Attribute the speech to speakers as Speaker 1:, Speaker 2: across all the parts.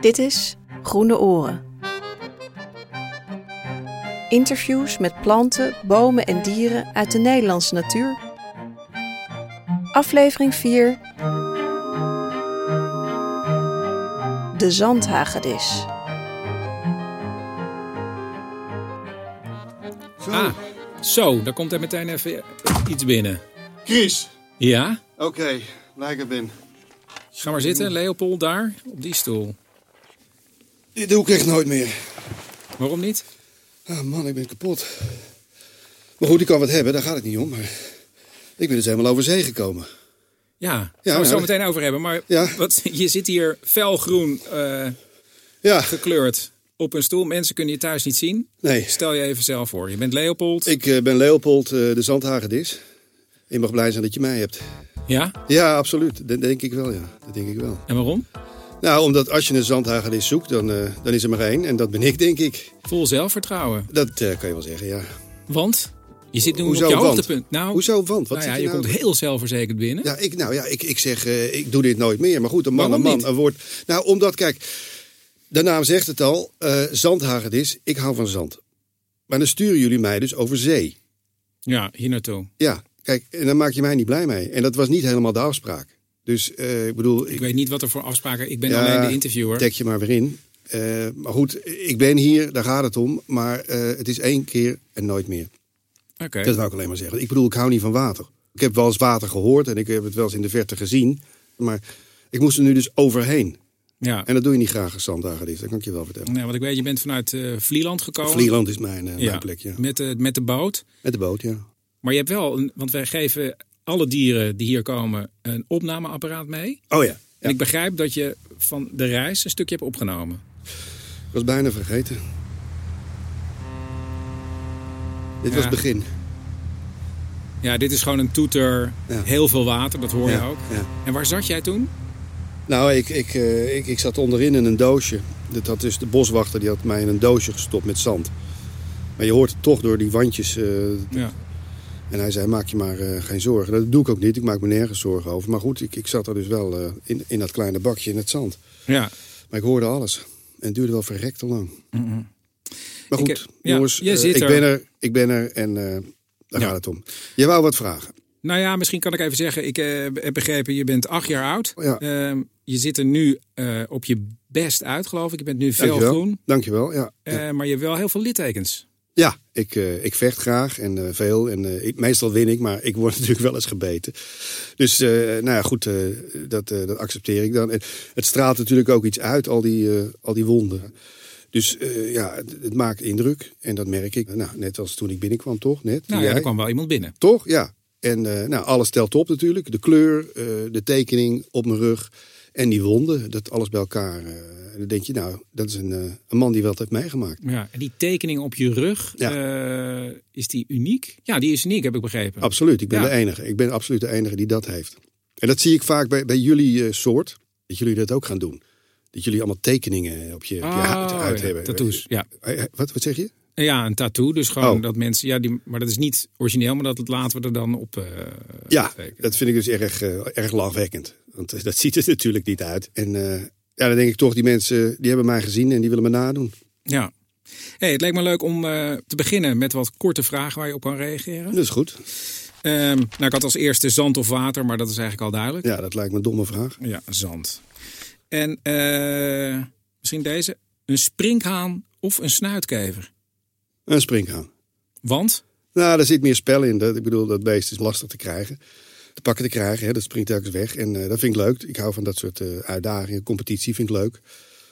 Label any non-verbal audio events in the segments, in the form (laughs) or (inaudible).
Speaker 1: Dit is Groene Oren. Interviews met planten, bomen en dieren uit de Nederlandse natuur. Aflevering 4. De zandhagedis.
Speaker 2: Zo.
Speaker 3: Ah, zo, daar komt er meteen even iets binnen.
Speaker 2: Chris.
Speaker 3: Ja,
Speaker 2: Oké, lekker ben.
Speaker 3: ga maar
Speaker 2: Mm.
Speaker 3: zitten, Leopold, daar, op die stoel.
Speaker 2: Dit doe ik echt nooit meer.
Speaker 3: Waarom niet?
Speaker 2: Ah, man, ik ben kapot. Maar goed, ik kan wat hebben, daar gaat het niet om. Maar ik ben dus helemaal over zee gekomen.
Speaker 3: Ja, daar gaan we het zo
Speaker 2: ja.
Speaker 3: meteen over hebben. Maar
Speaker 2: Ja.
Speaker 3: wat, (laughs) je zit hier felgroen eh,
Speaker 2: Ja,
Speaker 3: gekleurd op een stoel. Mensen kunnen je thuis niet zien.
Speaker 2: nee.
Speaker 3: Stel je even zelf voor. Je bent Leopold.
Speaker 2: Ik eh, ben Leopold eh, de Zandhagedis. Je mag blij zijn dat je mij hebt.
Speaker 3: Ja,
Speaker 2: Ja, absoluut. Dat denk ik wel, ja. Dat denk ik wel.
Speaker 3: en waarom?
Speaker 2: Nou, omdat als je een zandhagedis zoekt, dan, eh, dan is er maar één. En dat ben ik, denk ik.
Speaker 3: Vol zelfvertrouwen.
Speaker 2: Dat eh, kan je wel zeggen, ja.
Speaker 3: Oh. Want je zit nu
Speaker 2: Hoezo,
Speaker 3: op je
Speaker 2: want?
Speaker 3: hoogtepunt. Nou,
Speaker 2: Hoezo, want? Wat
Speaker 3: nou
Speaker 2: zit
Speaker 3: ja,
Speaker 2: je
Speaker 3: je
Speaker 2: nou-
Speaker 3: komt heel zelfverzekerd binnen.
Speaker 2: Ja, ik, nou ja, ik, ik zeg, eh, ik doe dit nooit meer. Maar goed, een man,
Speaker 3: Waarom
Speaker 2: een man,
Speaker 3: niet?
Speaker 2: een woord. Nou, omdat, kijk, de naam zegt het al, eh zandhagedis, ik hou van zand. Maar dan sturen jullie mij dus over zee.
Speaker 3: Ja, hier naartoe.
Speaker 2: Ja, kijk, en dan maak je mij niet blij mee. En dat was niet helemaal de afspraak. Dus eh, ik bedoel,
Speaker 3: Ik
Speaker 2: ik
Speaker 3: weet niet wat er voor afspraken... Ik ben
Speaker 2: Ja,
Speaker 3: alleen de interviewer.
Speaker 2: dek je maar weer in. Eh, maar goed, ik ben hier, daar gaat het om. Maar eh, het is één keer en nooit meer.
Speaker 3: Oké.
Speaker 2: Dat wou ik alleen maar zeggen. Ik bedoel, ik hou niet van water. Ik heb wel eens water gehoord en ik heb het wel eens in de verte gezien. Maar ik moest er nu dus overheen.
Speaker 3: Ja.
Speaker 2: En dat doe je niet graag als zandhagedis, dat kan ik je wel vertellen.
Speaker 3: Nou, want ik weet, je bent vanuit eh, Vlieland gekomen.
Speaker 2: Vlieland is mijn, eh,
Speaker 3: Ja,
Speaker 2: mijn plek, ja.
Speaker 3: Met, de, met de boot.
Speaker 2: Met de boot, ja.
Speaker 3: Maar je hebt wel, een, want wij geven alle dieren die hier komen een opnameapparaat mee.
Speaker 2: Oh ja,
Speaker 3: En ik begrijp dat je van de reis een stukje hebt opgenomen.
Speaker 2: ik was bijna vergeten. Dit
Speaker 3: Ja.
Speaker 2: was het begin.
Speaker 3: Ja, dit is gewoon een toeter,
Speaker 2: Ja.
Speaker 3: heel veel water, dat hoor
Speaker 2: Ja,
Speaker 3: je ook.
Speaker 2: ja.
Speaker 3: En waar zat jij toen?
Speaker 2: Nou, ik, ik, eh, ik, ik zat onderin in een doosje. Dat had dus de boswachter die had mij in een doosje gestopt met zand. Maar je hoort het toch door die wandjes. eh,
Speaker 3: Ja.
Speaker 2: en hij zei, maak je maar eh, geen zorgen. Dat doe ik ook niet, ik maak me nergens zorgen over. Maar goed, ik, ik zat er dus wel eh, in, in dat kleine bakje in het zand.
Speaker 3: ja.
Speaker 2: Maar ik hoorde alles. En het duurde wel verrekt te lang. Maar
Speaker 3: Mm-hmm. Ik
Speaker 2: goed,
Speaker 3: heb- ja,
Speaker 2: jongens,
Speaker 3: jij
Speaker 2: eh,
Speaker 3: zit
Speaker 2: ik
Speaker 3: er.
Speaker 2: ben er. Ik ben er en eh, daar
Speaker 3: Ja.
Speaker 2: gaat het om. Je wou wat vragen.
Speaker 3: Nou ja, misschien kan ik even zeggen, ik eh, heb begrepen, je bent acht jaar oud.
Speaker 2: Ja.
Speaker 3: Ehm, je zit er nu eh, op je best uit, geloof ik. Je bent nu veel
Speaker 2: Dankjewel.
Speaker 3: groen,
Speaker 2: Dankjewel, ja.
Speaker 3: eh, maar je hebt wel heel veel littekens.
Speaker 2: Ja, ik, eh, ik vecht graag en eh, veel. En eh, ik- meestal win ik, maar ik word (laughs) natuurlijk wel eens gebeten. Dus eh, nou ja, goed, eh, dat, eh, dat accepteer ik dan. En het straalt natuurlijk ook iets uit, al die, eh, al die wonden. Dus eh, ja, het, het maakt indruk en dat merk ik. Nou, net als toen ik binnenkwam, toch? Net, toen
Speaker 3: Nou ja,
Speaker 2: jij.
Speaker 3: er kwam wel iemand binnen.
Speaker 2: Toch? Ja. En eh, nou, alles telt op natuurlijk. De kleur, eh, de tekening op mijn rug en die wonden. Dat alles bij elkaar. eh, en dan denk je, nou, dat is een, eh, een man die wat heeft meegemaakt.
Speaker 3: Ja, en die tekening op je rug, eh, is die uniek? Ja, die is uniek, heb ik begrepen.
Speaker 2: Absoluut, ik ben
Speaker 3: Ja.
Speaker 2: de enige. Ik ben absoluut de enige die dat heeft. En dat zie ik vaak bij, bij jullie eh, soort. Dat jullie dat ook gaan doen. Dat jullie allemaal tekeningen op je, op je
Speaker 3: Ah,
Speaker 2: huid, huid
Speaker 3: ja,
Speaker 2: hebben.
Speaker 3: Tattoos, ja.
Speaker 2: Eh, eh, Wat, wat zeg je?
Speaker 3: Ja, een tattoo. Dus gewoon
Speaker 2: Oh.
Speaker 3: dat mensen... Ja, die, maar dat is niet origineel, maar dat dat laten we er dan op eh,
Speaker 2: Ja,
Speaker 3: tekenen.
Speaker 2: dat vind ik dus erg, eh, erg lachwekkend. Want eh, dat (laughs) ziet er natuurlijk niet uit. En eh, ja, dan denk ik toch, die mensen die hebben mij gezien en die willen me nadoen.
Speaker 3: Ja. Hey, het lijkt me leuk om eh, te beginnen met wat korte vragen waar je op kan reageren.
Speaker 2: Dat is goed.
Speaker 3: Ehm, nou, ik had als eerste zand of water, maar dat is eigenlijk al duidelijk.
Speaker 2: Ja, dat lijkt me een domme vraag.
Speaker 3: Ja, zand. En eh, misschien deze. Een springhaan of een snuitkever.
Speaker 2: Een springhaan.
Speaker 3: Want?
Speaker 2: Nou, daar zit meer spel in. Dat, ik bedoel, dat beest is lastig te krijgen. Te pakken te krijgen, hè, dat springt telkens weg. En eh, dat vind ik leuk. Ik hou van dat soort eh, uitdagingen. Competitie vind ik leuk.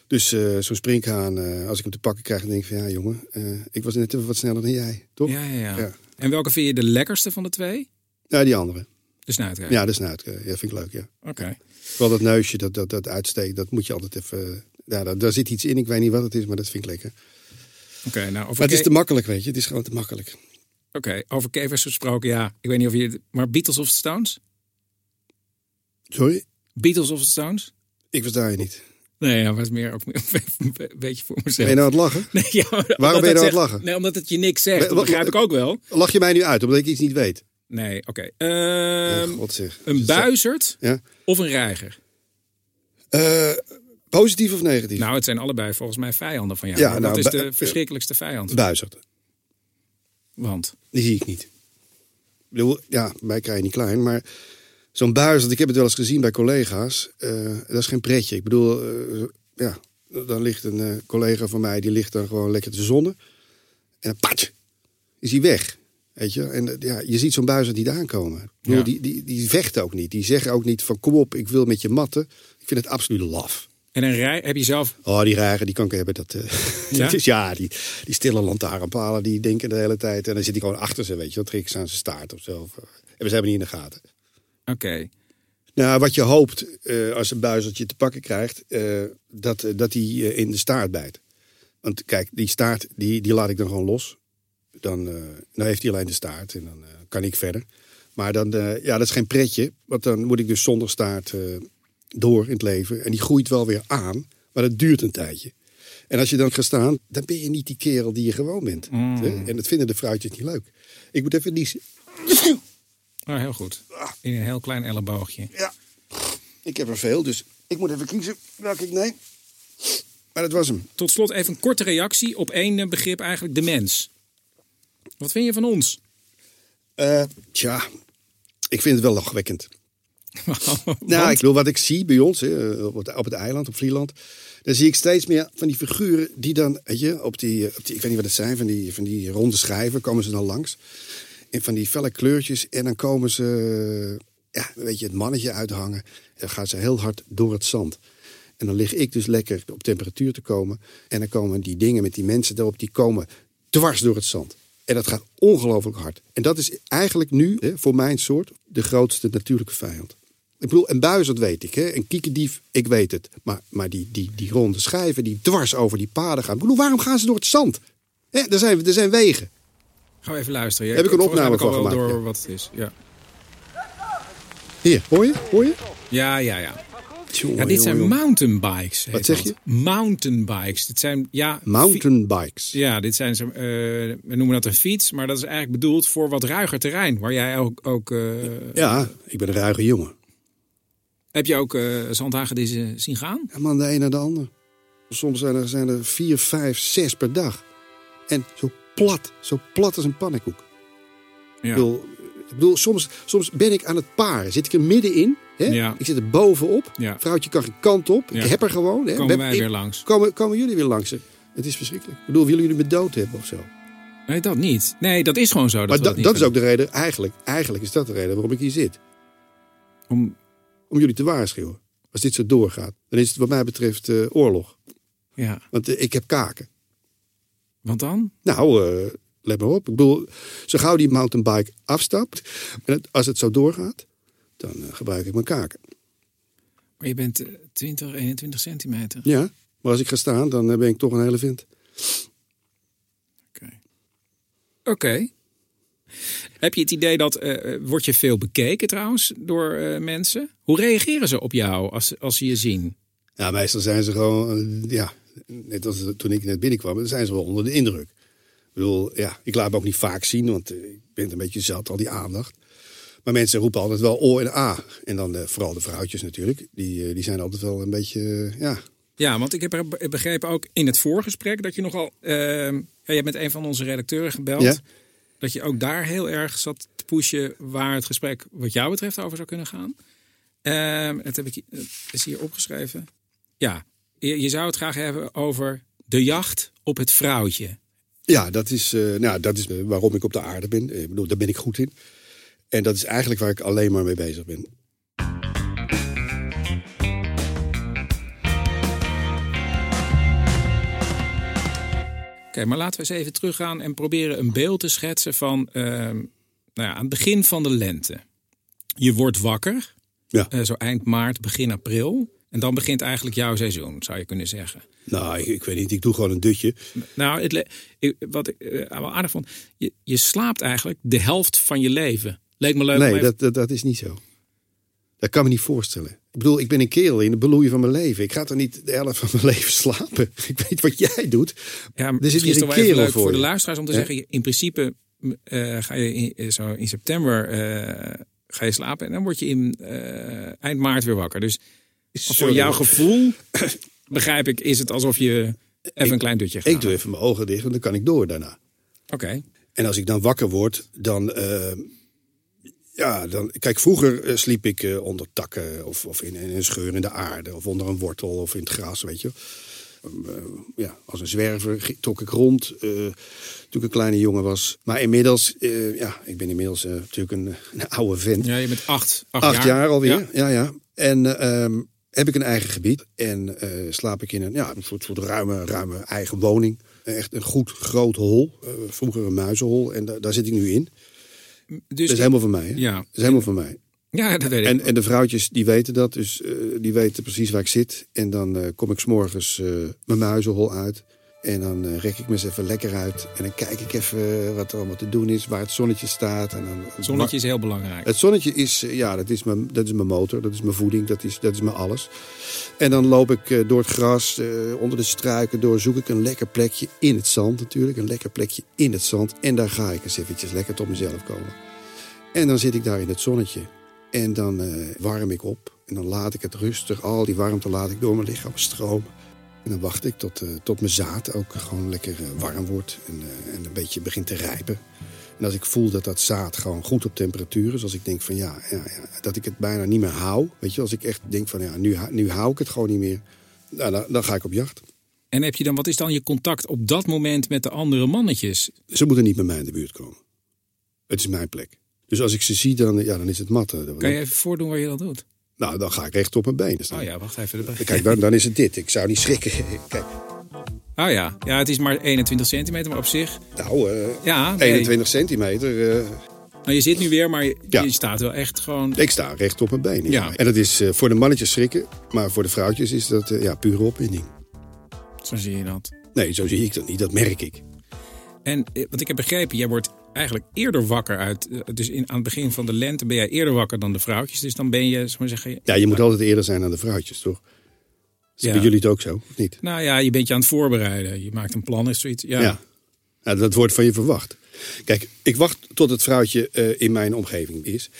Speaker 2: Dus eh, zo'n springhaan, eh, als ik hem te pakken krijg, dan denk ik van... Ja, jongen, eh, ik was net even wat sneller dan jij, toch?
Speaker 3: Ja, ja, ja.
Speaker 2: Ja.
Speaker 3: En welke vind je de lekkerste van de twee?
Speaker 2: Ja, die andere.
Speaker 3: De snuitkever.
Speaker 2: Ja, dat is uit. Ja, vind ik leuk, ja.
Speaker 3: Oké.
Speaker 2: Vooral dat neusje, dat, dat, dat uitsteekt, dat moet je altijd even... eh, Ja, daar, daar zit iets in, ik weet niet wat het is, maar dat vind ik lekker. Maar
Speaker 3: Oké, nou, over,
Speaker 2: het is
Speaker 3: ke-
Speaker 2: te makkelijk, weet je. Het is gewoon te makkelijk.
Speaker 3: oké, over kevers gesproken, ja. Ik weet niet of je... Maar Beatles of the Stones?
Speaker 2: Sorry?
Speaker 3: Beatles of the Stones?
Speaker 2: Ik versta je niet.
Speaker 3: Nee, ja, was meer ook (laughs) een beetje voor
Speaker 2: Ben
Speaker 3: mezelf.
Speaker 2: je nou aan het lachen?
Speaker 3: Nee, (laughs) ja, maar omdat
Speaker 2: ben
Speaker 3: het
Speaker 2: je nou aan het
Speaker 3: zegt-
Speaker 2: lachen?
Speaker 3: Nee, omdat het je niks zegt.
Speaker 2: Nee,
Speaker 3: Dat
Speaker 2: wat-
Speaker 3: begrijp ik ook wel.
Speaker 2: Lach je mij nu uit, omdat ik iets niet weet? Oh,
Speaker 3: Nee, oké. Ehm,
Speaker 2: God zeg.
Speaker 3: een buizerd
Speaker 2: Ja.
Speaker 3: of een reiger?
Speaker 2: Eh, Positief of negatief?
Speaker 3: Nou, het zijn allebei volgens mij vijanden van jou.
Speaker 2: Ja,
Speaker 3: Maar
Speaker 2: nou,
Speaker 3: wat is
Speaker 2: bij-
Speaker 3: de verschrikkelijkste vijand?
Speaker 2: Buizerd.
Speaker 3: Want
Speaker 2: Die zie ik niet. Ik bedoel, ja, mij krijg je niet klein, maar zo'n buizerd, ik heb het wel eens gezien bij collega's, eh, dat is geen pretje. Ik bedoel, eh, ja, dan ligt een eh, collega van mij, die ligt dan gewoon lekker te zonnen. En dan patje, is hij weg. Weet je? En eh, ja, je ziet zo'n buizerd niet aankomen. Ik bedoel,
Speaker 3: Ja.
Speaker 2: die, die, die vecht ook niet. Die zeggen ook niet van kom op, ik wil met je matten. Ik vind het absoluut laf.
Speaker 3: en een rij heb je zelf.
Speaker 2: Oh, die rare, die kan ik hebben. Dat, eh, (laughs)
Speaker 3: Ja?
Speaker 2: dat is, ja, die, die stille lantaarnpalen, die denken de hele tijd. En dan zit hij gewoon achter ze, weet je. Dan trek ze aan zijn staart of zo. Of, eh, En we zijn hem niet in de gaten.
Speaker 3: Oké.
Speaker 2: Nou, wat je hoopt eh, als een buizeltje te pakken krijgt, eh, dat, eh, dat hij eh, in de staart bijt. Want kijk, die staart, die, die laat ik dan gewoon los. Dan, eh, dan heeft hij alleen de staart en dan eh, kan ik verder. Maar dan, eh, ja, dat is geen pretje. Want dan moet ik dus zonder staart eh, door in het leven. En die groeit wel weer aan, maar dat duurt een tijdje. En als je dan gaat staan, dan ben je niet die kerel die je gewoon bent. hè? En dat vinden de fruitjes niet leuk. Ik moet even niezen.
Speaker 3: Nou, heel goed.
Speaker 2: Ah.
Speaker 3: In een heel klein elleboogje.
Speaker 2: Ja, ik heb er veel, dus ik moet even kiezen welke ik neem. Maar dat was hem.
Speaker 3: Tot slot even een korte reactie op één eh, begrip eigenlijk. De mens. Wat vind je van ons?
Speaker 2: Eh, tja, ik vind het wel lachwekkend. Nou,
Speaker 3: Want-
Speaker 2: ik wil wat ik zie bij ons, hè, op, het, op het eiland, op Vlieland. Dan zie ik steeds meer van die figuren die dan, weet je, op die, eh, op die ik weet niet wat het zijn, van die, van die ronde schijven komen ze dan langs. In van die felle kleurtjes. En dan komen ze, eh, ja, weet je, het mannetje uithangen. En dan gaan ze heel hard door het zand. En dan lig ik dus lekker op temperatuur te komen. En dan komen die dingen met die mensen daarop, die komen dwars door het zand. En dat gaat ongelooflijk hard. En dat is eigenlijk nu, hè, voor mijn soort, de grootste natuurlijke vijand. Ik bedoel, een buis, dat weet ik. Hè? Een kiekendief, ik weet het. Maar, maar die, die, die ronde schijven die dwars over die paden gaan. Ik bedoel, waarom gaan ze door het zand? Hè, er, zijn, er zijn wegen.
Speaker 3: Gaan we even luisteren. Ja,
Speaker 2: Heb ik een
Speaker 3: volgens mij heb
Speaker 2: opname
Speaker 3: ik
Speaker 2: van
Speaker 3: al wel
Speaker 2: gemaakt,
Speaker 3: door wat het is. Ja,
Speaker 2: Hier, hoor je? Hoor je?
Speaker 3: ja, ja. ja.
Speaker 2: Tjonge,
Speaker 3: Ja, dit
Speaker 2: jonge,
Speaker 3: zijn
Speaker 2: jonge.
Speaker 3: mountainbikes. heet
Speaker 2: Wat zeg
Speaker 3: dat.
Speaker 2: je?
Speaker 3: Mountainbikes. Dit zijn, ja, fi-
Speaker 2: mountainbikes.
Speaker 3: Ja, dit zijn ze, eh, we noemen dat een fiets, maar dat is eigenlijk bedoeld voor wat ruiger terrein. Waar jij ook, ook eh,
Speaker 2: Ja, ik ben een ruige jongen.
Speaker 3: heb je ook eh zandhagedissen zien gaan?
Speaker 2: Ja, man, de een naar de ander. Soms zijn er, zijn er vier, vijf, zes per dag. En zo plat, zo plat als een pannenkoek.
Speaker 3: Ja.
Speaker 2: Ik bedoel, ik bedoel soms, soms ben ik aan het paren. Zit ik er middenin. Hè?
Speaker 3: Ja.
Speaker 2: Ik zit er bovenop.
Speaker 3: Ja.
Speaker 2: Vrouwtje kan geen kant op.
Speaker 3: Ja.
Speaker 2: Ik heb er gewoon. Hè?
Speaker 3: Komen
Speaker 2: We-
Speaker 3: wij
Speaker 2: ik-
Speaker 3: weer langs?
Speaker 2: Komen, komen jullie weer langs. hè? Het is verschrikkelijk. Ik bedoel, willen jullie me dood hebben of zo?
Speaker 3: Nee, dat niet. Nee, dat is gewoon zo. Dat
Speaker 2: maar
Speaker 3: we
Speaker 2: dat,
Speaker 3: niet
Speaker 2: dat is ook
Speaker 3: kunnen.
Speaker 2: de reden, eigenlijk, eigenlijk is dat de reden waarom ik hier zit.
Speaker 3: Om,
Speaker 2: Om jullie te waarschuwen. Als dit zo doorgaat, dan is het wat mij betreft eh, oorlog.
Speaker 3: ja,
Speaker 2: Want eh, ik heb kaken.
Speaker 3: want dan?
Speaker 2: Nou, eh, let maar op. Ik bedoel, zo gauw die mountainbike afstapt, en het- als het zo doorgaat, dan eh, gebruik ik mijn kaken.
Speaker 3: Maar je bent eh, 20, 21 centimeter.
Speaker 2: Ja, maar als ik ga staan, dan eh, ben ik toch een hele vent.
Speaker 3: Oké. Oké. Heb je het idee dat, eh eh, word je veel bekeken trouwens door eh, mensen? Hoe reageren ze op jou als, als ze je zien?
Speaker 2: Ja, meestal zijn ze gewoon, eh, ja, net als eh, toen ik net binnenkwam, dan zijn ze wel onder de indruk. Ik bedoel, ja, ik laat me ook niet vaak zien, want eh, ik ben het een beetje zat, al die aandacht. Maar mensen roepen altijd wel O en A. En dan eh, vooral de vrouwtjes natuurlijk. Die, eh, die zijn altijd wel een beetje, eh, ja,
Speaker 3: Ja, want ik heb er be- begrepen ook in het voorgesprek dat je nogal. eh, ja, je hebt met een van onze redacteuren gebeld.
Speaker 2: Ja.
Speaker 3: Dat je ook daar heel erg zat te pushen waar het gesprek, wat jou betreft, over zou kunnen gaan. Ehm dat heb ik hi- het is hier opgeschreven. Ja, je, je zou het graag hebben over de jacht op het vrouwtje.
Speaker 2: Ja, dat is, eh, nou, dat is eh, waarom ik op de aarde ben. Eh, Ik bedoel, daar ben ik goed in. En dat is eigenlijk waar ik alleen maar mee bezig ben.
Speaker 3: Oké, maar laten we eens even teruggaan en proberen een beeld te schetsen van. ehm, nou ja, aan het begin van de lente. Je wordt wakker.
Speaker 2: Ja.
Speaker 3: eh, zo eind maart, begin april. En dan begint eigenlijk jouw seizoen, zou je kunnen zeggen.
Speaker 2: Nou, ik, ik weet niet, ik doe gewoon een dutje.
Speaker 3: Nou, het le- ik- wat ik eh, wel aardig vond, je, je slaapt eigenlijk de helft van je leven. Leek me leuk. om
Speaker 2: Nee,
Speaker 3: Eh, even-
Speaker 2: dat, dat, dat is niet zo. Dat kan me niet voorstellen. Ik bedoel, ik ben een kerel in de beloei van mijn leven. Ik ga toch niet de helft van mijn (laughs) leven slapen. Ik weet wat jij doet.
Speaker 3: ja,
Speaker 2: er zit
Speaker 3: misschien
Speaker 2: hier
Speaker 3: is
Speaker 2: een
Speaker 3: het wel even
Speaker 2: kerel
Speaker 3: leuk
Speaker 2: voor
Speaker 3: voor de
Speaker 2: je.
Speaker 3: luisteraars om te
Speaker 2: Ja.
Speaker 3: zeggen, je- in principe m, eh, ga je in, eh, zo in september eh, ga je slapen en dan word je in eh, eind maart weer wakker. Dus voor
Speaker 2: Sorry.
Speaker 3: jouw gevoel (coughs) begrijp ik, is het alsof je even een klein dutje gaat.
Speaker 2: Ik doe even mijn ogen dicht en dan kan ik door daarna.
Speaker 3: Oké.
Speaker 2: En als ik dan wakker word, dan. eh, ja, dan. Kijk, vroeger eh, sliep ik eh, onder takken of, of in, in een scheur in de aarde of onder een wortel of in het gras, weet je. Eh, ja, als een zwerver g- trok ik rond eh, toen ik een kleine jongen was. Maar inmiddels, eh, ja, ik ben inmiddels eh, natuurlijk een, een oude vent.
Speaker 3: Ja, je bent acht, acht,
Speaker 2: Acht jaar, alweer.
Speaker 3: Ja.
Speaker 2: Ja, ja. En eh, ehm, heb ik een eigen gebied en eh, slaap ik in een, ja, een soort, soort ruime, ruime eigen woning. Echt een goed groot hol. Eh, vroeger een muizenhol en daar daar zit ik nu in.
Speaker 3: Dus
Speaker 2: Dat is helemaal van mij. Hè?
Speaker 3: Ja.
Speaker 2: Dat is helemaal van mij.
Speaker 3: ja, dat weet ik.
Speaker 2: En, en de vrouwtjes die weten dat, dus eh, die weten precies waar ik zit. En dan eh, kom ik s'morgens eh mijn muizenhol uit. En dan eh, rek ik me eens even lekker uit. En dan kijk ik even wat er allemaal te doen is, waar het zonnetje staat. En dan
Speaker 3: Zonnetje is heel belangrijk.
Speaker 2: het zonnetje is, eh, ja, dat is mijn, dat is mijn motor, dat is mijn voeding, dat is, dat is mijn alles. En dan loop ik eh, door het gras, eh, onder de struiken door, zoek ik een lekker plekje in het zand natuurlijk. Een lekker plekje in het zand. En daar ga ik eens eventjes lekker tot mezelf komen. En dan zit ik daar in het zonnetje. En dan eh, warm ik op. En dan laat ik het rustig, al die warmte laat ik door mijn lichaam stromen. En dan wacht ik tot, eh, tot mijn zaad ook gewoon lekker eh, warm wordt en, eh, en een beetje begint te rijpen. En als ik voel dat dat zaad gewoon goed op temperatuur is, als ik denk van ja, ja, ja dat ik het bijna niet meer hou. Weet je, als ik echt denk van ja, nu, hou- nu hou ik het gewoon niet meer. Nou, dan, dan ga ik op jacht.
Speaker 3: En heb je dan, wat is dan je contact op dat moment met de andere mannetjes?
Speaker 2: Ze moeten niet bij mij in de buurt komen. Het is mijn plek. Dus als ik ze zie, dan, ja, dan is het matten. Dan-
Speaker 3: Kan je even voordoen waar je dat doet?
Speaker 2: Nou, dan ga ik recht op mijn benen staan.
Speaker 3: Oh ja, wacht even. dat begin-
Speaker 2: Kijk, dan, dan is het dit. Ik zou niet schrikken. (laughs) Kijk,
Speaker 3: Oh ja. ja, het is maar 21 centimeter, maar op zich.
Speaker 2: nou, eh,
Speaker 3: Ja, nee.
Speaker 2: 21 centimeter. eh,
Speaker 3: Nou, je zit nu weer, maar je,
Speaker 2: Ja.
Speaker 3: je staat wel echt gewoon.
Speaker 2: ik sta recht op mijn benen.
Speaker 3: Ja.
Speaker 2: En dat is eh, voor de mannetjes schrikken, maar voor de vrouwtjes is dat eh, ja, pure opwinding.
Speaker 3: Zo zie je dat.
Speaker 2: Nee, zo zie ik dat niet. Dat merk ik.
Speaker 3: En eh, want ik heb begrepen, jij wordt eigenlijk eerder wakker uit. eh, Dus in, aan het begin van de lente ben jij eerder wakker dan de vrouwtjes. Dus dan ben je, zo maar zeggen.
Speaker 2: Ja, je moet altijd eerder zijn aan de vrouwtjes, toch? Is
Speaker 3: Ja.
Speaker 2: Bij jullie het ook zo, of niet?
Speaker 3: Nou ja, je bent je aan het voorbereiden. Je maakt een plan of zoiets. Ja.
Speaker 2: Ja. Ja, Dat wordt van je verwacht. Kijk, ik wacht tot het vrouwtje eh, in mijn omgeving is.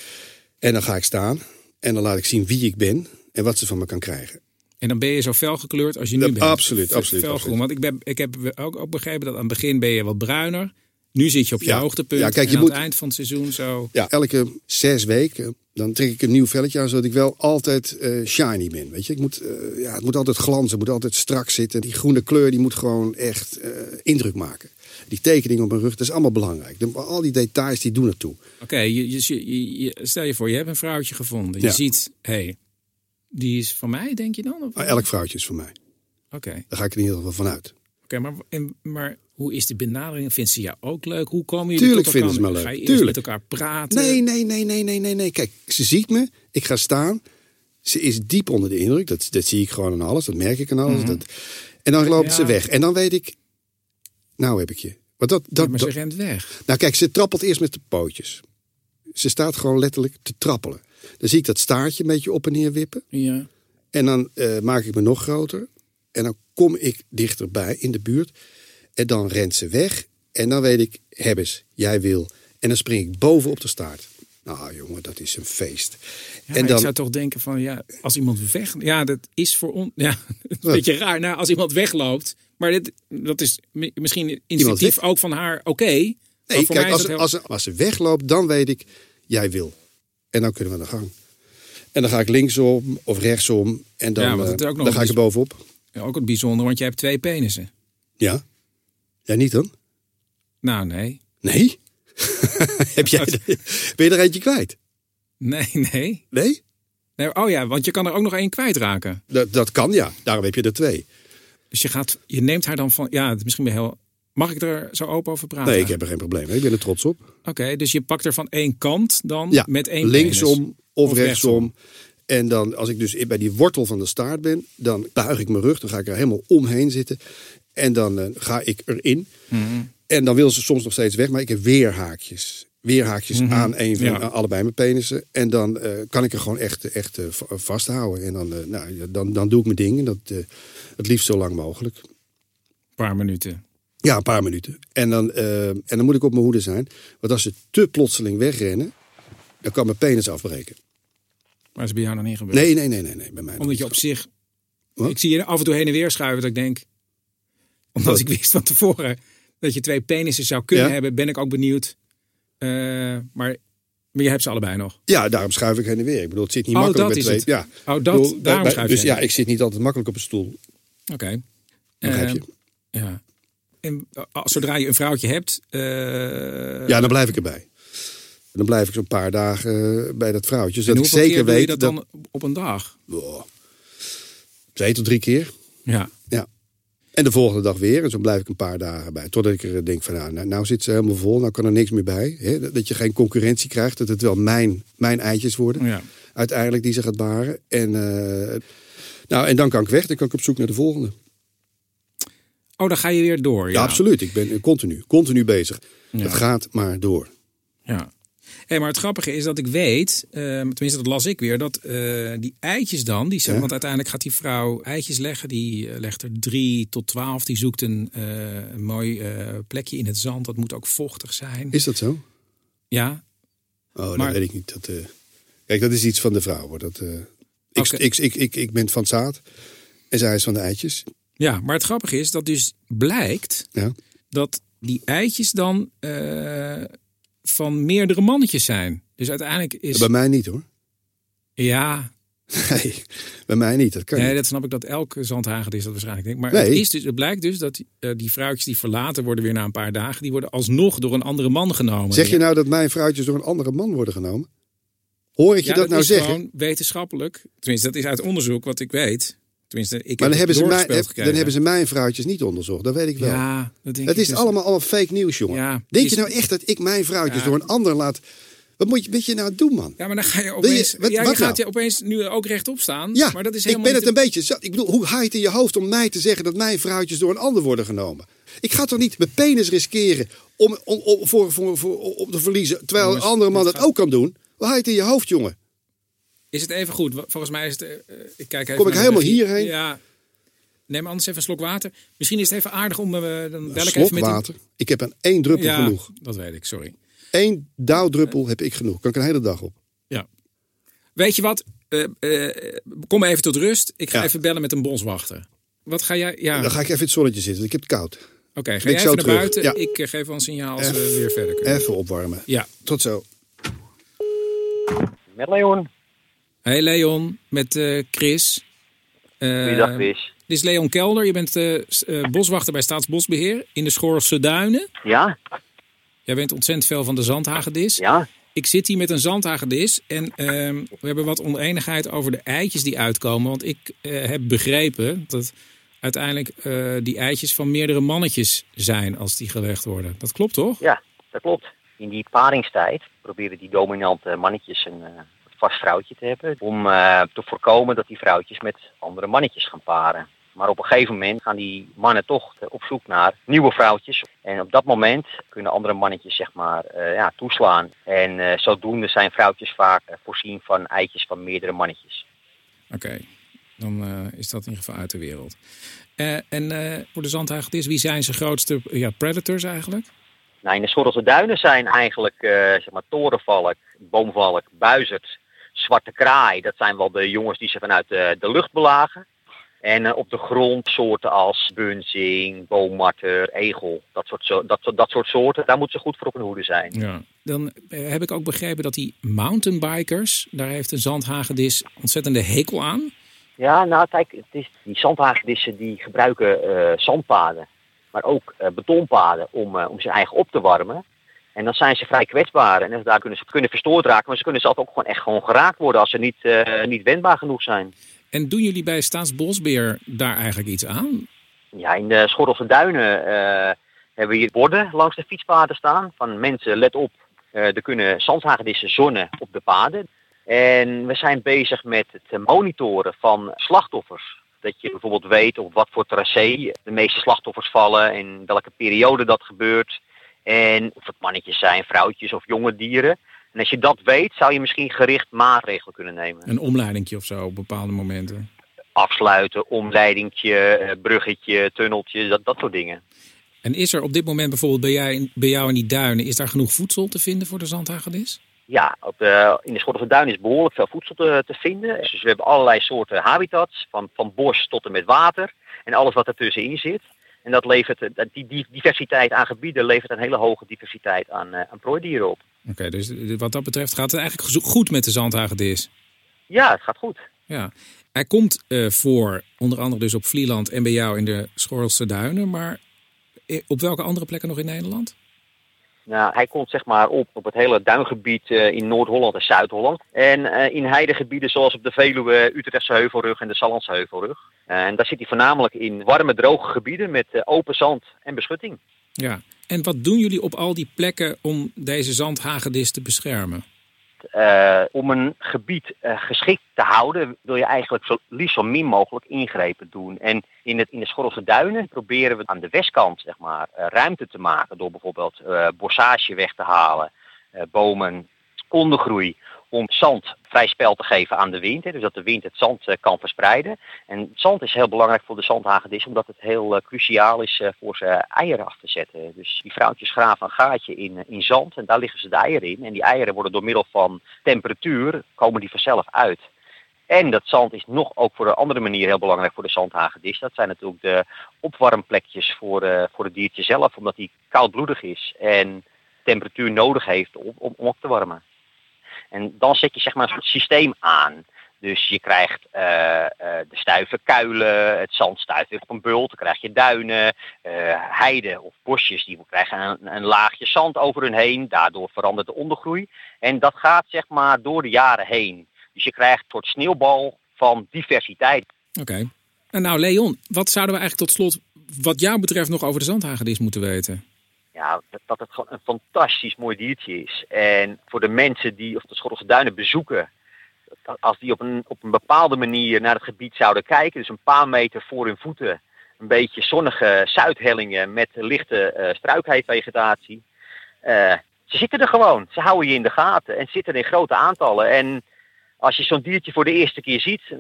Speaker 2: En dan ga ik staan. En dan laat ik zien wie ik ben en wat ze van me kan krijgen.
Speaker 3: En dan ben je zo fel gekleurd als je nu
Speaker 2: Dat-
Speaker 3: bent.
Speaker 2: absoluut,
Speaker 3: Fe-
Speaker 2: absoluut,
Speaker 3: Felgroen.
Speaker 2: absoluut.
Speaker 3: Want ik, ben, ik heb ook, ook begrepen dat aan het begin ben je wat bruiner. Nu zit je op je
Speaker 2: Ja.
Speaker 3: hoogtepunt.
Speaker 2: Ja, kijk,
Speaker 3: en
Speaker 2: je
Speaker 3: aan
Speaker 2: moet-
Speaker 3: het eind van het seizoen zo.
Speaker 2: Ja, elke zes weken eh, dan trek ik een nieuw velletje aan, zodat ik wel altijd eh, shiny ben. Weet je, ik moet, eh, ja, het moet altijd glanzen, het moet altijd strak zitten. Die groene kleur die moet gewoon echt eh, indruk maken. Die tekening op mijn rug, dat is allemaal belangrijk. De- al die details die doen het toe.
Speaker 3: Oké, je, je- je- je- stel je voor, je hebt een vrouwtje gevonden. Je
Speaker 2: Ja.
Speaker 3: ziet, hé, hey, die is van mij, denk je dan? Of-
Speaker 2: Maar elk vrouwtje is voor mij.
Speaker 3: Oké, oké,
Speaker 2: Daar ga ik in ieder geval van uit.
Speaker 3: maar, en- maar hoe is de benadering? Vindt ze jou ook leuk? Hoe komen jullie
Speaker 2: Tuurlijk
Speaker 3: tot elkaar?
Speaker 2: vinden ze me leuk.
Speaker 3: Ga je eerst
Speaker 2: Tuurlijk.
Speaker 3: met elkaar praten?
Speaker 2: Nee, nee, nee, nee, nee, nee, nee. Kijk, ze ziet me. Ik ga staan. Ze is diep onder de indruk. Dat, dat zie ik gewoon aan alles. Dat merk ik aan alles. dat... En dan loopt
Speaker 3: Mhm. Ja.
Speaker 2: ze weg. En dan weet ik, nou heb ik je. Want dat,
Speaker 3: Ja,
Speaker 2: dat,
Speaker 3: maar
Speaker 2: dat-
Speaker 3: ze rent weg.
Speaker 2: Nou kijk, ze trappelt eerst met de pootjes. Ze staat gewoon letterlijk te trappelen. Dan zie ik dat staartje een beetje op en neer wippen.
Speaker 3: Ja.
Speaker 2: En dan eh, maak ik me nog groter. En dan kom ik dichterbij in de buurt. En dan rent ze weg. En dan weet ik, hebbes, jij wil. En dan spring ik boven op de staart. Nou jongen, dat is een feest.
Speaker 3: Ja,
Speaker 2: en
Speaker 3: maar
Speaker 2: dan,
Speaker 3: Ik zou toch denken van, ja, als iemand weg... Ja, dat is voor ons... Ja, (laughs) een
Speaker 2: Wat?
Speaker 3: beetje raar. Nou, als iemand wegloopt... Maar dit, dat is mi- misschien instinctief
Speaker 2: weg?
Speaker 3: ook van haar oké. maar voor
Speaker 2: nee, kijk,
Speaker 3: mij is
Speaker 2: als,
Speaker 3: dat heel-
Speaker 2: als, als ze wegloopt, dan weet ik, jij wil. En dan kunnen we aan de gang. En dan ga ik linksom of rechtsom. En dan,
Speaker 3: Ja, want
Speaker 2: eh,
Speaker 3: het is ook nog
Speaker 2: dan
Speaker 3: een
Speaker 2: ga ik er
Speaker 3: bes-
Speaker 2: bovenop.
Speaker 3: Ja, ook het bijzonder, want jij hebt twee penissen.
Speaker 2: Ja. Jij niet dan?
Speaker 3: Nou, nee.
Speaker 2: Nee. (laughs) Heb jij, ben je er eentje kwijt?
Speaker 3: Nee, (laughs) nee.
Speaker 2: Nee?
Speaker 3: nee. Oh ja, want je kan er ook nog één kwijtraken.
Speaker 2: Dat, dat kan ja. Daarom heb je er twee.
Speaker 3: Dus je, gaat, je neemt haar dan van... Ja, het is misschien wel heel... Mag ik er zo open over praten?
Speaker 2: Nee, ik heb er geen probleem mee. Ik ben er trots op.
Speaker 3: Oké, dus je pakt er van één kant dan
Speaker 2: Ja,
Speaker 3: met één
Speaker 2: linksom
Speaker 3: penis.
Speaker 2: of,
Speaker 3: Of
Speaker 2: rechtsom. En dan, als ik dus bij die wortel van de staart ben, dan buig ik mijn rug. Dan ga ik er helemaal omheen zitten. En dan eh, ga ik erin.
Speaker 3: Mhm.
Speaker 2: En dan wil ze soms nog steeds weg, maar ik heb weer haakjes. Weer haakjes aan een van
Speaker 3: Mhm. Ja.
Speaker 2: aan allebei mijn penissen. En dan eh, kan ik er gewoon echt, echt eh, va- vasthouden. En dan, eh, nou, ja, dan, dan doe ik mijn ding. En dat, eh, het liefst zo lang mogelijk.
Speaker 3: Een paar minuten.
Speaker 2: Ja, een paar minuten. En dan, eh, en dan moet ik op mijn hoede zijn. Want als ze te plotseling wegrennen, dan kan mijn penis afbreken.
Speaker 3: Maar dat is bij jou nog niet gebeurd.
Speaker 2: Nee, nee, nee, nee, nee bij mij nog
Speaker 3: Omdat je
Speaker 2: niet.
Speaker 3: op zich
Speaker 2: Wat?
Speaker 3: Ik zie je af en toe heen en weer schuiven dat ik denk... Omdat
Speaker 2: Wat?
Speaker 3: ik wist van tevoren dat je twee penissen zou kunnen
Speaker 2: Ja.
Speaker 3: hebben, ben ik ook benieuwd. Eh, maar, maar je hebt ze allebei nog.
Speaker 2: Ja, daarom schuif ik heen en weer. Ik bedoel, het zit niet
Speaker 3: Oh,
Speaker 2: makkelijk
Speaker 3: dat
Speaker 2: met
Speaker 3: is
Speaker 2: twee.
Speaker 3: het.
Speaker 2: Ja.
Speaker 3: Oh, dat,
Speaker 2: Ik bedoel, bij-
Speaker 3: daarom
Speaker 2: bij-
Speaker 3: schuif je.
Speaker 2: dus ja, ik zit niet altijd makkelijk op een stoel.
Speaker 3: Oké.
Speaker 2: Begrijp
Speaker 3: Eh,
Speaker 2: je?
Speaker 3: Ja. En eh, als, zodra je een vrouwtje hebt... eh,
Speaker 2: Ja, dan blijf ik erbij. Dan blijf ik zo'n paar dagen eh, bij dat vrouwtje. Zodat
Speaker 3: en
Speaker 2: ik
Speaker 3: hoeveel
Speaker 2: zeker
Speaker 3: keer doe
Speaker 2: weet
Speaker 3: je dat, dan op een dag?
Speaker 2: Wow. Twee tot drie keer.
Speaker 3: Ja.
Speaker 2: Ja. En de volgende dag weer. En zo blijf ik een paar dagen bij. Totdat ik er denk van nou, nou, nou zit ze helemaal vol. Nou kan er niks meer bij. Hè? Dat- Dat je geen concurrentie krijgt. Dat het wel mijn, mijn eitjes worden.
Speaker 3: ja.
Speaker 2: Uiteindelijk die ze gaat baren. En, eh, nou, en dan kan ik weg. Dan kan ik op zoek naar de volgende.
Speaker 3: Oh, dan ga je weer door.
Speaker 2: Ja,
Speaker 3: ja.
Speaker 2: absoluut. Ik ben eh, continu, continu bezig.
Speaker 3: Ja.
Speaker 2: Het gaat maar door.
Speaker 3: Ja. Hé, maar het grappige is dat ik weet, eh, tenminste dat las ik weer, dat eh, die eitjes dan, die zijn,
Speaker 2: Ja.
Speaker 3: want uiteindelijk gaat die vrouw eitjes leggen, die eh, legt er drie tot twaalf, die zoekt een, eh, een mooi eh, plekje in het zand, dat moet ook vochtig zijn.
Speaker 2: Is dat zo?
Speaker 3: Ja,
Speaker 2: Oh, dat
Speaker 3: Maar-
Speaker 2: weet ik niet. Dat, eh, Kijk, dat is iets van de vrouw. hoor. Dat, eh, ik,
Speaker 3: Oké.
Speaker 2: ik, ik, ik, ik ben van het zaad. En zij is van de eitjes.
Speaker 3: ja, maar het grappige is dat dus blijkt
Speaker 2: Ja.
Speaker 3: dat die eitjes dan eh, van meerdere mannetjes zijn. Dus uiteindelijk is,
Speaker 2: Bij mij niet hoor. (laughs)
Speaker 3: ja,
Speaker 2: Nee, bij mij niet. Dat kan
Speaker 3: Nee,
Speaker 2: niet.
Speaker 3: dat snap ik dat elke zandhagend is dat waarschijnlijk. Denk. ik. Maar
Speaker 2: Nee.
Speaker 3: het, is dus, het blijkt dus dat eh, die vrouwtjes die verlaten worden weer na een paar dagen, die worden alsnog door een andere man genomen.
Speaker 2: Zeg je
Speaker 3: Ja,
Speaker 2: nou dat mijn vrouwtjes door een andere man worden genomen? Hoor ik je
Speaker 3: ja,
Speaker 2: dat, nou
Speaker 3: is
Speaker 2: zeggen?
Speaker 3: gewoon wetenschappelijk. Tenminste, dat is uit onderzoek wat ik weet. Tenminste, ik
Speaker 2: Maar
Speaker 3: heb
Speaker 2: dan hebben, ze mijn,
Speaker 3: mij,
Speaker 2: heb- dan hebben ze mijn vrouwtjes niet onderzocht. Dat weet ik wel.
Speaker 3: Ja, dat denk
Speaker 2: het
Speaker 3: ik
Speaker 2: is
Speaker 3: dus.
Speaker 2: allemaal, allemaal fake nieuws, jongen.
Speaker 3: Ja,
Speaker 2: Denk
Speaker 3: is-
Speaker 2: je nou echt dat ik mijn vrouwtjes
Speaker 3: Ja.
Speaker 2: door een ander laat... Wat moet je, wat je nou doen, man?
Speaker 3: Ja, maar dan ga je
Speaker 2: je-
Speaker 3: opeens. ja,
Speaker 2: wat- wat
Speaker 3: je
Speaker 2: nou?
Speaker 3: gaat je opeens nu ook rechtop staan.
Speaker 2: Ja,
Speaker 3: maar dat is
Speaker 2: ik
Speaker 3: helemaal
Speaker 2: ben het
Speaker 3: niet
Speaker 2: een beetje... zat. Ik bedoel, hoe haalt het in je hoofd om mij te zeggen dat mijn vrouwtjes door een ander worden genomen? Ik ga toch niet mijn penis riskeren om, om, om, voor, voor, voor, om te verliezen, terwijl
Speaker 3: Jongens,
Speaker 2: een andere man
Speaker 3: dit
Speaker 2: dat ook kan doen? Hoe haalt het in je hoofd, jongen?
Speaker 3: Is het even goed? Wa- Volgens mij is het. eh, eh, ik kijk even
Speaker 2: Kom ik
Speaker 3: naar de
Speaker 2: helemaal
Speaker 3: regie.
Speaker 2: hierheen?
Speaker 3: Ja. Neem anders even een slok water. Misschien is het even aardig om. eh, dan bel ik
Speaker 2: slok
Speaker 3: even met. een-
Speaker 2: water. Ik heb aan één druppel
Speaker 3: Ja,
Speaker 2: genoeg.
Speaker 3: dat weet ik, sorry.
Speaker 2: Eén dauwdruppel heb ik genoeg. Kan ik een hele dag op.
Speaker 3: Ja. Weet je wat? Eh, eh, kom even tot rust. Ik ga
Speaker 2: Ja.
Speaker 3: even bellen met een boswachter. Wat ga jij? Ja,
Speaker 2: Dan
Speaker 3: oké.
Speaker 2: ga ik even in het zonnetje zitten. want Ik heb het koud.
Speaker 3: ga
Speaker 2: ik
Speaker 3: jij
Speaker 2: zo
Speaker 3: even naar
Speaker 2: terug.
Speaker 3: buiten?
Speaker 2: Ja. eh.
Speaker 3: Ik eh, geef wel een signaal als we
Speaker 2: Even-
Speaker 3: weer verder kunnen.
Speaker 2: Even opwarmen.
Speaker 3: Ja.
Speaker 2: Tot zo.
Speaker 4: Met Leon.
Speaker 3: Hey Leon, met eh, Chris. Eh,
Speaker 4: Goeiedag, Chris.
Speaker 3: Dit is Leon Kelder. Je bent eh, s- eh, boswachter bij Staatsbosbeheer in de Schorse Duinen.
Speaker 4: Ja?
Speaker 3: Jij bent ontzettend veel van de zandhagedis.
Speaker 4: Ja?
Speaker 3: Ik zit hier met een zandhagedis en ehm, we hebben wat oneenigheid over de eitjes die uitkomen. Want ik eh, heb begrepen dat uiteindelijk eh, die eitjes van meerdere mannetjes zijn als die gelegd worden. Dat klopt toch?
Speaker 4: Ja, dat klopt. In die paringstijd proberen die dominante mannetjes een eh, vast vrouwtje te hebben. Om eh, te voorkomen dat die vrouwtjes met andere mannetjes gaan paren. Maar op een gegeven moment gaan die mannen toch eh, op zoek naar nieuwe vrouwtjes. En op dat moment kunnen andere mannetjes zeg maar eh, ja, toeslaan. En eh, zodoende zijn vrouwtjes vaak eh, voorzien van eitjes van meerdere mannetjes.
Speaker 3: Oké, dan eh, is dat in ieder geval uit de wereld. Eh, en eh, voor de zandhagedis, wie zijn zijn grootste ja, predators eigenlijk?
Speaker 4: Nou, in de Schorrelse duinen zijn eigenlijk eh, zeg maar, torenvalk, boomvalk, buizerd, zwarte kraai. Dat zijn wel de jongens die ze vanuit de, de lucht belagen. En eh, op de grond soorten als bunzing, boommarter, egel. Dat soort, zo- dat, soort- dat soort soorten, daar moeten ze goed voor op hun hoede zijn.
Speaker 3: Ja. Dan eh, heb ik ook begrepen dat die mountainbikers, daar heeft een zandhagedis ontzettende hekel aan.
Speaker 4: Ja, nou kijk, het is, die zandhagedissen die gebruiken eh, zandpaden, maar ook eh, betonpaden om, eh, om zijn eigen op te warmen. En dan zijn ze vrij kwetsbaar en daar kunnen ze kunnen verstoord raken, maar ze kunnen zelf ook gewoon echt gewoon geraakt worden als ze niet, eh, niet wendbaar genoeg zijn.
Speaker 3: En doen jullie bij Staatsbosbeheer daar eigenlijk iets aan?
Speaker 4: Ja, in de Schorrelse Duinen eh, hebben we hier borden langs de fietspaden staan van mensen, let op, eh, er kunnen zandhagedissen zonnen op de paden. En we zijn bezig met het monitoren van slachtoffers. Dat je bijvoorbeeld weet op wat voor tracé de meeste slachtoffers vallen en welke periode dat gebeurt. En of het mannetjes zijn, vrouwtjes of jonge dieren. En als je dat weet, zou je misschien gericht maatregelen kunnen nemen
Speaker 3: Een omleidingje of zo op bepaalde momenten.
Speaker 4: afsluiten, omleidingtje, eh, bruggetje, tunneltje, dat, dat soort dingen.
Speaker 3: En is er op dit moment bijvoorbeeld bij, jij, bij jou in die duinen, is daar genoeg voedsel te vinden voor de zandhagedis?
Speaker 4: Ja, op de, in de Schottische duin is behoorlijk veel voedsel te, te vinden. Dus we hebben allerlei soorten habitats, van, van bos tot en met water en alles wat ertussenin zit. En dat levert, eh, die, die diversiteit aan gebieden levert een hele hoge diversiteit aan, eh, aan prooidieren op.
Speaker 3: Oké, dus wat dat betreft gaat het eigenlijk zo- goed met de zandhagedis.
Speaker 4: Ja, het gaat goed.
Speaker 3: Ja. Hij komt eh, voor, onder andere dus op Vlieland en bij jou in de Schorlse Duinen. Maar eh, op welke andere plekken nog in Nederland?
Speaker 4: Nou, hij komt zeg maar op op het hele duingebied eh, in Noord-Holland en Zuid-Holland. En eh, in heidegebieden zoals op de Veluwe, Utrechtse Heuvelrug en de Sallandse Heuvelrug. Eh, en daar zit hij voornamelijk in warme, droge gebieden met eh, open zand en beschutting.
Speaker 3: Ja. En wat doen jullie op al die plekken om deze zandhagedis te beschermen?
Speaker 4: Eh, om een gebied eh, geschikt te houden wil je eigenlijk zo liefst zo min mogelijk ingrepen doen. En in, het, in de Schorrelse Duinen proberen we aan de westkant zeg maar, eh, ruimte te maken door bijvoorbeeld eh bossage weg te halen, eh, bomen, ondergroei. Om zand vrij spel te geven aan de wind. Hè, dus dat de wind het zand eh, kan verspreiden. En zand is heel belangrijk voor de zandhagedis. Omdat het heel eh, cruciaal is eh, voor ze eieren af te zetten. Dus die vrouwtjes graven een gaatje in, eh, in zand. En daar liggen ze de eieren in. En die eieren worden door middel van temperatuur. Komen die vanzelf uit. En dat zand is nog ook voor een andere manier heel belangrijk voor de zandhagedis. Dat zijn natuurlijk de opwarmplekjes voor, eh, voor het diertje zelf. Omdat die koudbloedig is. En temperatuur nodig heeft om, om, om op te warmen. En dan zet je zeg maar een soort systeem aan. Dus je krijgt eh, eh, de stuive kuilen, het zand stuift weer op een bult, dan krijg je duinen, eh, heiden of bosjes die krijgen een, een laagje zand over hun heen, daardoor verandert de ondergroei. En dat gaat zeg maar door de jaren heen. Dus je krijgt een soort sneeuwbal van diversiteit.
Speaker 3: Oké. En nou, Leon, wat zouden we eigenlijk tot slot, wat jou betreft, nog over de zandhagedis moeten weten?
Speaker 4: Ja, dat- dat het gewoon een fantastisch mooi diertje is. En voor de mensen die of de Schottische duinen bezoeken, dat als die op een, op een bepaalde manier naar het gebied zouden kijken, dus een paar meter voor hun voeten, een beetje zonnige zuidhellingen met lichte eh struikheidvegetatie. Eh, ze zitten er gewoon, ze houden je in de gaten en zitten in grote aantallen. En als je zo'n diertje voor de eerste keer ziet, eh,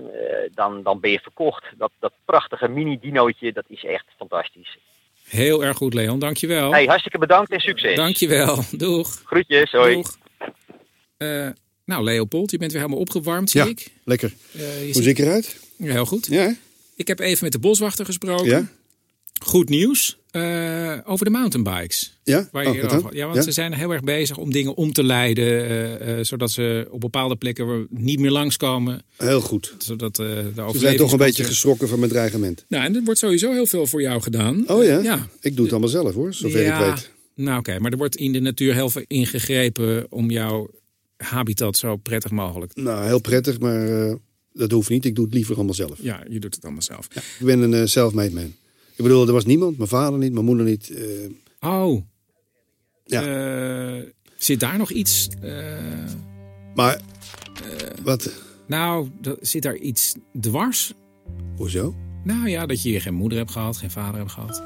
Speaker 4: dan, dan ben je verkocht. Dat, dat prachtige mini-dinootje, dat is echt fantastisch.
Speaker 3: Heel erg goed, Leon. Dankjewel.
Speaker 4: Hey, hartstikke bedankt en succes.
Speaker 3: Dankjewel. (laughs) Doeg.
Speaker 4: Groetjes, hoi.
Speaker 3: Doeg. Eh, nou, Leopold, je bent weer helemaal opgewarmd, zie
Speaker 2: Ja,
Speaker 3: ik.
Speaker 2: lekker.
Speaker 3: Eh, je
Speaker 2: Hoe zie ik eruit?
Speaker 3: Ja, heel goed.
Speaker 2: Ja, hè?
Speaker 3: Ik heb even met de boswachter gesproken.
Speaker 2: ja,
Speaker 3: Goed nieuws eh, over de mountainbikes.
Speaker 2: ja.
Speaker 3: Waar je
Speaker 2: Oh,
Speaker 3: hier
Speaker 2: wat
Speaker 3: over-
Speaker 2: dan?
Speaker 3: ja, want
Speaker 2: Ja?
Speaker 3: ze zijn heel erg bezig om dingen om te leiden. eh, eh, zodat ze op bepaalde plekken waar we niet meer langskomen.
Speaker 2: Heel goed.
Speaker 3: Zodat eh de overleving.
Speaker 2: Ze zijn toch een beetje geschrokken van mijn dreigement.
Speaker 3: Nou, en er wordt sowieso heel veel voor jou gedaan.
Speaker 2: Oh ja?
Speaker 3: Ja.
Speaker 2: Ik doe het allemaal zelf hoor, zover
Speaker 3: ja,
Speaker 2: ik weet.
Speaker 3: Nou, oké. Maar er wordt in de natuur heel veel ingegrepen. om jouw habitat zo prettig mogelijk.
Speaker 2: Nou, heel prettig, maar eh, dat hoeft niet. Ik doe het liever allemaal zelf.
Speaker 3: Ja, je doet het allemaal zelf.
Speaker 2: Ik ben een eh, self-made man. Ik bedoel, er was niemand. Mijn vader niet, mijn moeder niet. eh,
Speaker 3: Oh.
Speaker 2: Ja.
Speaker 3: Eh, zit daar nog iets? eh,
Speaker 2: maar, wat?
Speaker 3: nou, dat- zit daar iets dwars?
Speaker 2: Hoezo?
Speaker 3: Nou ja, dat je hier geen moeder hebt gehad, geen vader hebt gehad.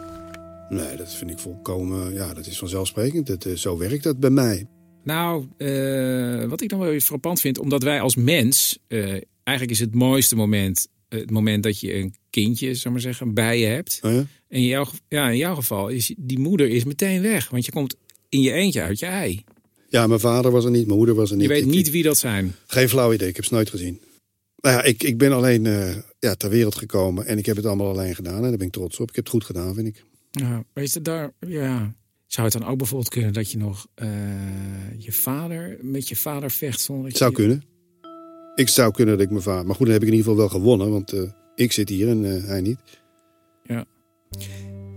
Speaker 2: Nee, dat vind ik volkomen... Ja, dat is vanzelfsprekend. Dat, eh, zo werkt dat bij mij.
Speaker 3: Nou, eh, wat ik dan wel weer frappant vind, omdat wij als mens, eh, eigenlijk is het mooiste moment eh, het moment dat je een kindje, zou maar zeggen, bij je hebt.
Speaker 2: Oh ja?
Speaker 3: En in jouw, ge- ja, in jouw geval is die moeder is meteen weg, want je komt in je eentje uit je ei.
Speaker 2: Ja, mijn vader was er niet, mijn moeder was er
Speaker 3: Je
Speaker 2: niet.
Speaker 3: weet
Speaker 2: Ik-
Speaker 3: niet wie dat zijn.
Speaker 2: Geen flauw idee, ik heb ze nooit gezien. Nou ja, ik, ik ben alleen eh, ja, ter wereld gekomen en ik heb het allemaal alleen gedaan. En daar ben ik trots op. Ik heb het goed gedaan, vind ik.
Speaker 3: Ja, weet je, daar, ja. Zou het dan ook bijvoorbeeld kunnen dat je nog eh, je vader met je vader vecht zonder dat
Speaker 2: Het zou
Speaker 3: je...
Speaker 2: kunnen. Ik zou kunnen dat ik mijn vader... Maar goed, dan heb ik in ieder geval wel gewonnen, want eh, ik zit hier en eh, hij niet.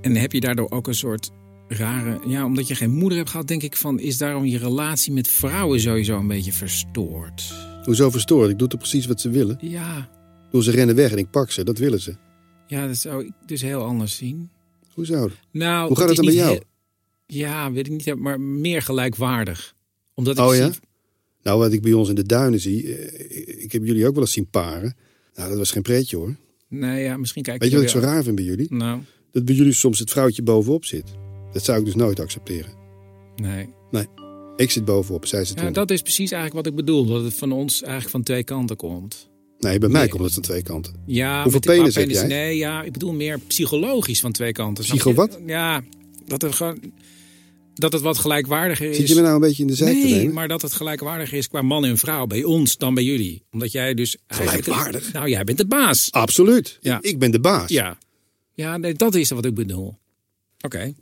Speaker 3: En heb je daardoor ook een soort rare... Ja, omdat je geen moeder hebt gehad, denk ik van... is daarom je relatie met vrouwen sowieso een beetje verstoord?
Speaker 2: Hoezo verstoord? Ik doe toch precies wat ze willen?
Speaker 3: Ja,
Speaker 2: Ik bedoel, ze rennen weg en ik pak ze, dat willen ze.
Speaker 3: ja dat zou ik dus heel anders zien.
Speaker 2: Hoezo? Oh
Speaker 3: Nou,
Speaker 2: Hoe gaat
Speaker 3: is
Speaker 2: het dan
Speaker 3: niet
Speaker 2: met jou?
Speaker 3: heel- ja, weet ik niet, maar meer gelijkwaardig. Omdat ik
Speaker 2: Oh ja?
Speaker 3: zie-
Speaker 2: Nou, wat ik bij ons in de duinen zie... eh, ik heb jullie ook wel eens zien paren. Nou, dat was geen pretje hoor.
Speaker 3: Nee, ja, misschien kijk
Speaker 2: Weet je wat ik
Speaker 3: jullie
Speaker 2: zo raar vind bij jullie?
Speaker 3: al- Nou,
Speaker 2: Dat bij jullie soms het vrouwtje bovenop zit. Dat zou ik dus nooit accepteren.
Speaker 3: nee.
Speaker 2: Ik zit bovenop, zij zit
Speaker 3: Ja,
Speaker 2: onder.
Speaker 3: dat is precies eigenlijk wat ik bedoel. Dat het van ons eigenlijk van twee kanten komt.
Speaker 2: Nee, bij mij
Speaker 3: Nee.
Speaker 2: komt het van twee kanten.
Speaker 3: Ja,
Speaker 2: Hoeveel
Speaker 3: met de- maar
Speaker 2: penis heb jij?
Speaker 3: Nee, ja, ik bedoel meer psychologisch van twee kanten. snap
Speaker 2: Psycho
Speaker 3: je?
Speaker 2: wat?
Speaker 3: Ja, dat er gewoon... dat het wat gelijkwaardiger is.
Speaker 2: Zit je me nou een beetje in de zijk te
Speaker 3: Nee,
Speaker 2: nemen?
Speaker 3: maar dat het gelijkwaardiger is qua man en vrouw bij ons dan bij jullie. Omdat jij dus... eigenlijk-
Speaker 2: Gelijkwaardig? Ah,
Speaker 3: Nou, jij bent de baas.
Speaker 2: Absoluut.
Speaker 3: Ja.
Speaker 2: Ik ben de baas.
Speaker 3: Ja, ja nee, dat is wat ik bedoel. Oké.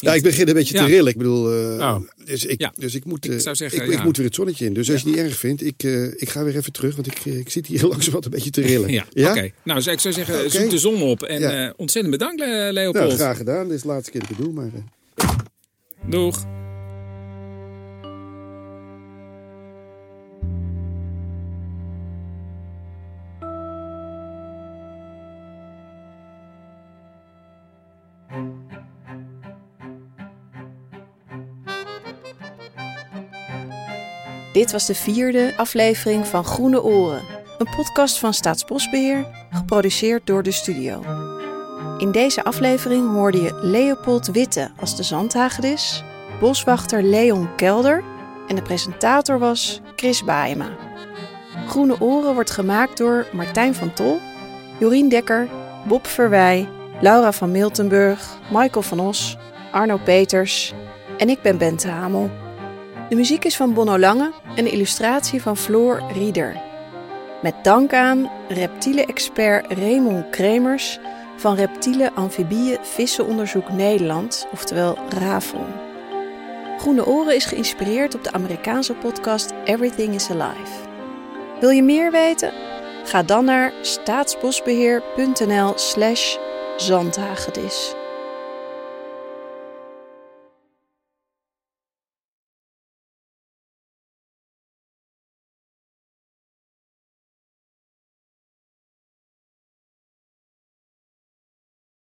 Speaker 2: Ja, ik begin een beetje
Speaker 3: Ja.
Speaker 2: te rillen. Ik bedoel, eh,
Speaker 3: Oh.
Speaker 2: dus, ik,
Speaker 3: Ja.
Speaker 2: dus ik moet,
Speaker 3: Ik
Speaker 2: eh,
Speaker 3: zou zeggen,
Speaker 2: ik, ik
Speaker 3: ja.
Speaker 2: moet weer het zonnetje in. Dus als je het niet erg vindt, ik, eh, ik ga weer even terug. Want ik, eh, ik zit hier (laughs) langzaam wat een beetje te rillen.
Speaker 3: Ja, oké. Nou, dus ik zou zeggen,
Speaker 2: Oké.
Speaker 3: zoek de zon op. En
Speaker 2: Ja.
Speaker 3: eh, ontzettend bedankt, Le-
Speaker 2: Nou,
Speaker 3: Leopold.
Speaker 2: graag gedaan. Dit is de laatste keer dat ik het doe. Maar, eh.
Speaker 3: Doeg.
Speaker 1: Dit was de vierde aflevering van Groene Oren, een podcast van Staatsbosbeheer, geproduceerd door de studio. In deze aflevering hoorde je Leopold Witte als de zandhagedis, boswachter Leon Kelder en de presentator was Chris Baaema. Groene Oren wordt gemaakt door Martijn van Tol, Jorien Dekker, Bob Verwij, Laura van Miltenburg, Michael van Os, Arno Peters en ik ben Bente Hamel. De muziek is van Bonno Lange, een illustratie van Floor Rieder. Met dank aan reptielen-expert Raymond Kremers van Reptielen Amfibieën Vissenonderzoek Nederland, oftewel RAVON. Groene Oren is geïnspireerd op de Amerikaanse podcast Everything is Alive. Wil je meer weten? Ga dan naar staatsbosbeheer.nl slash zandhagedis.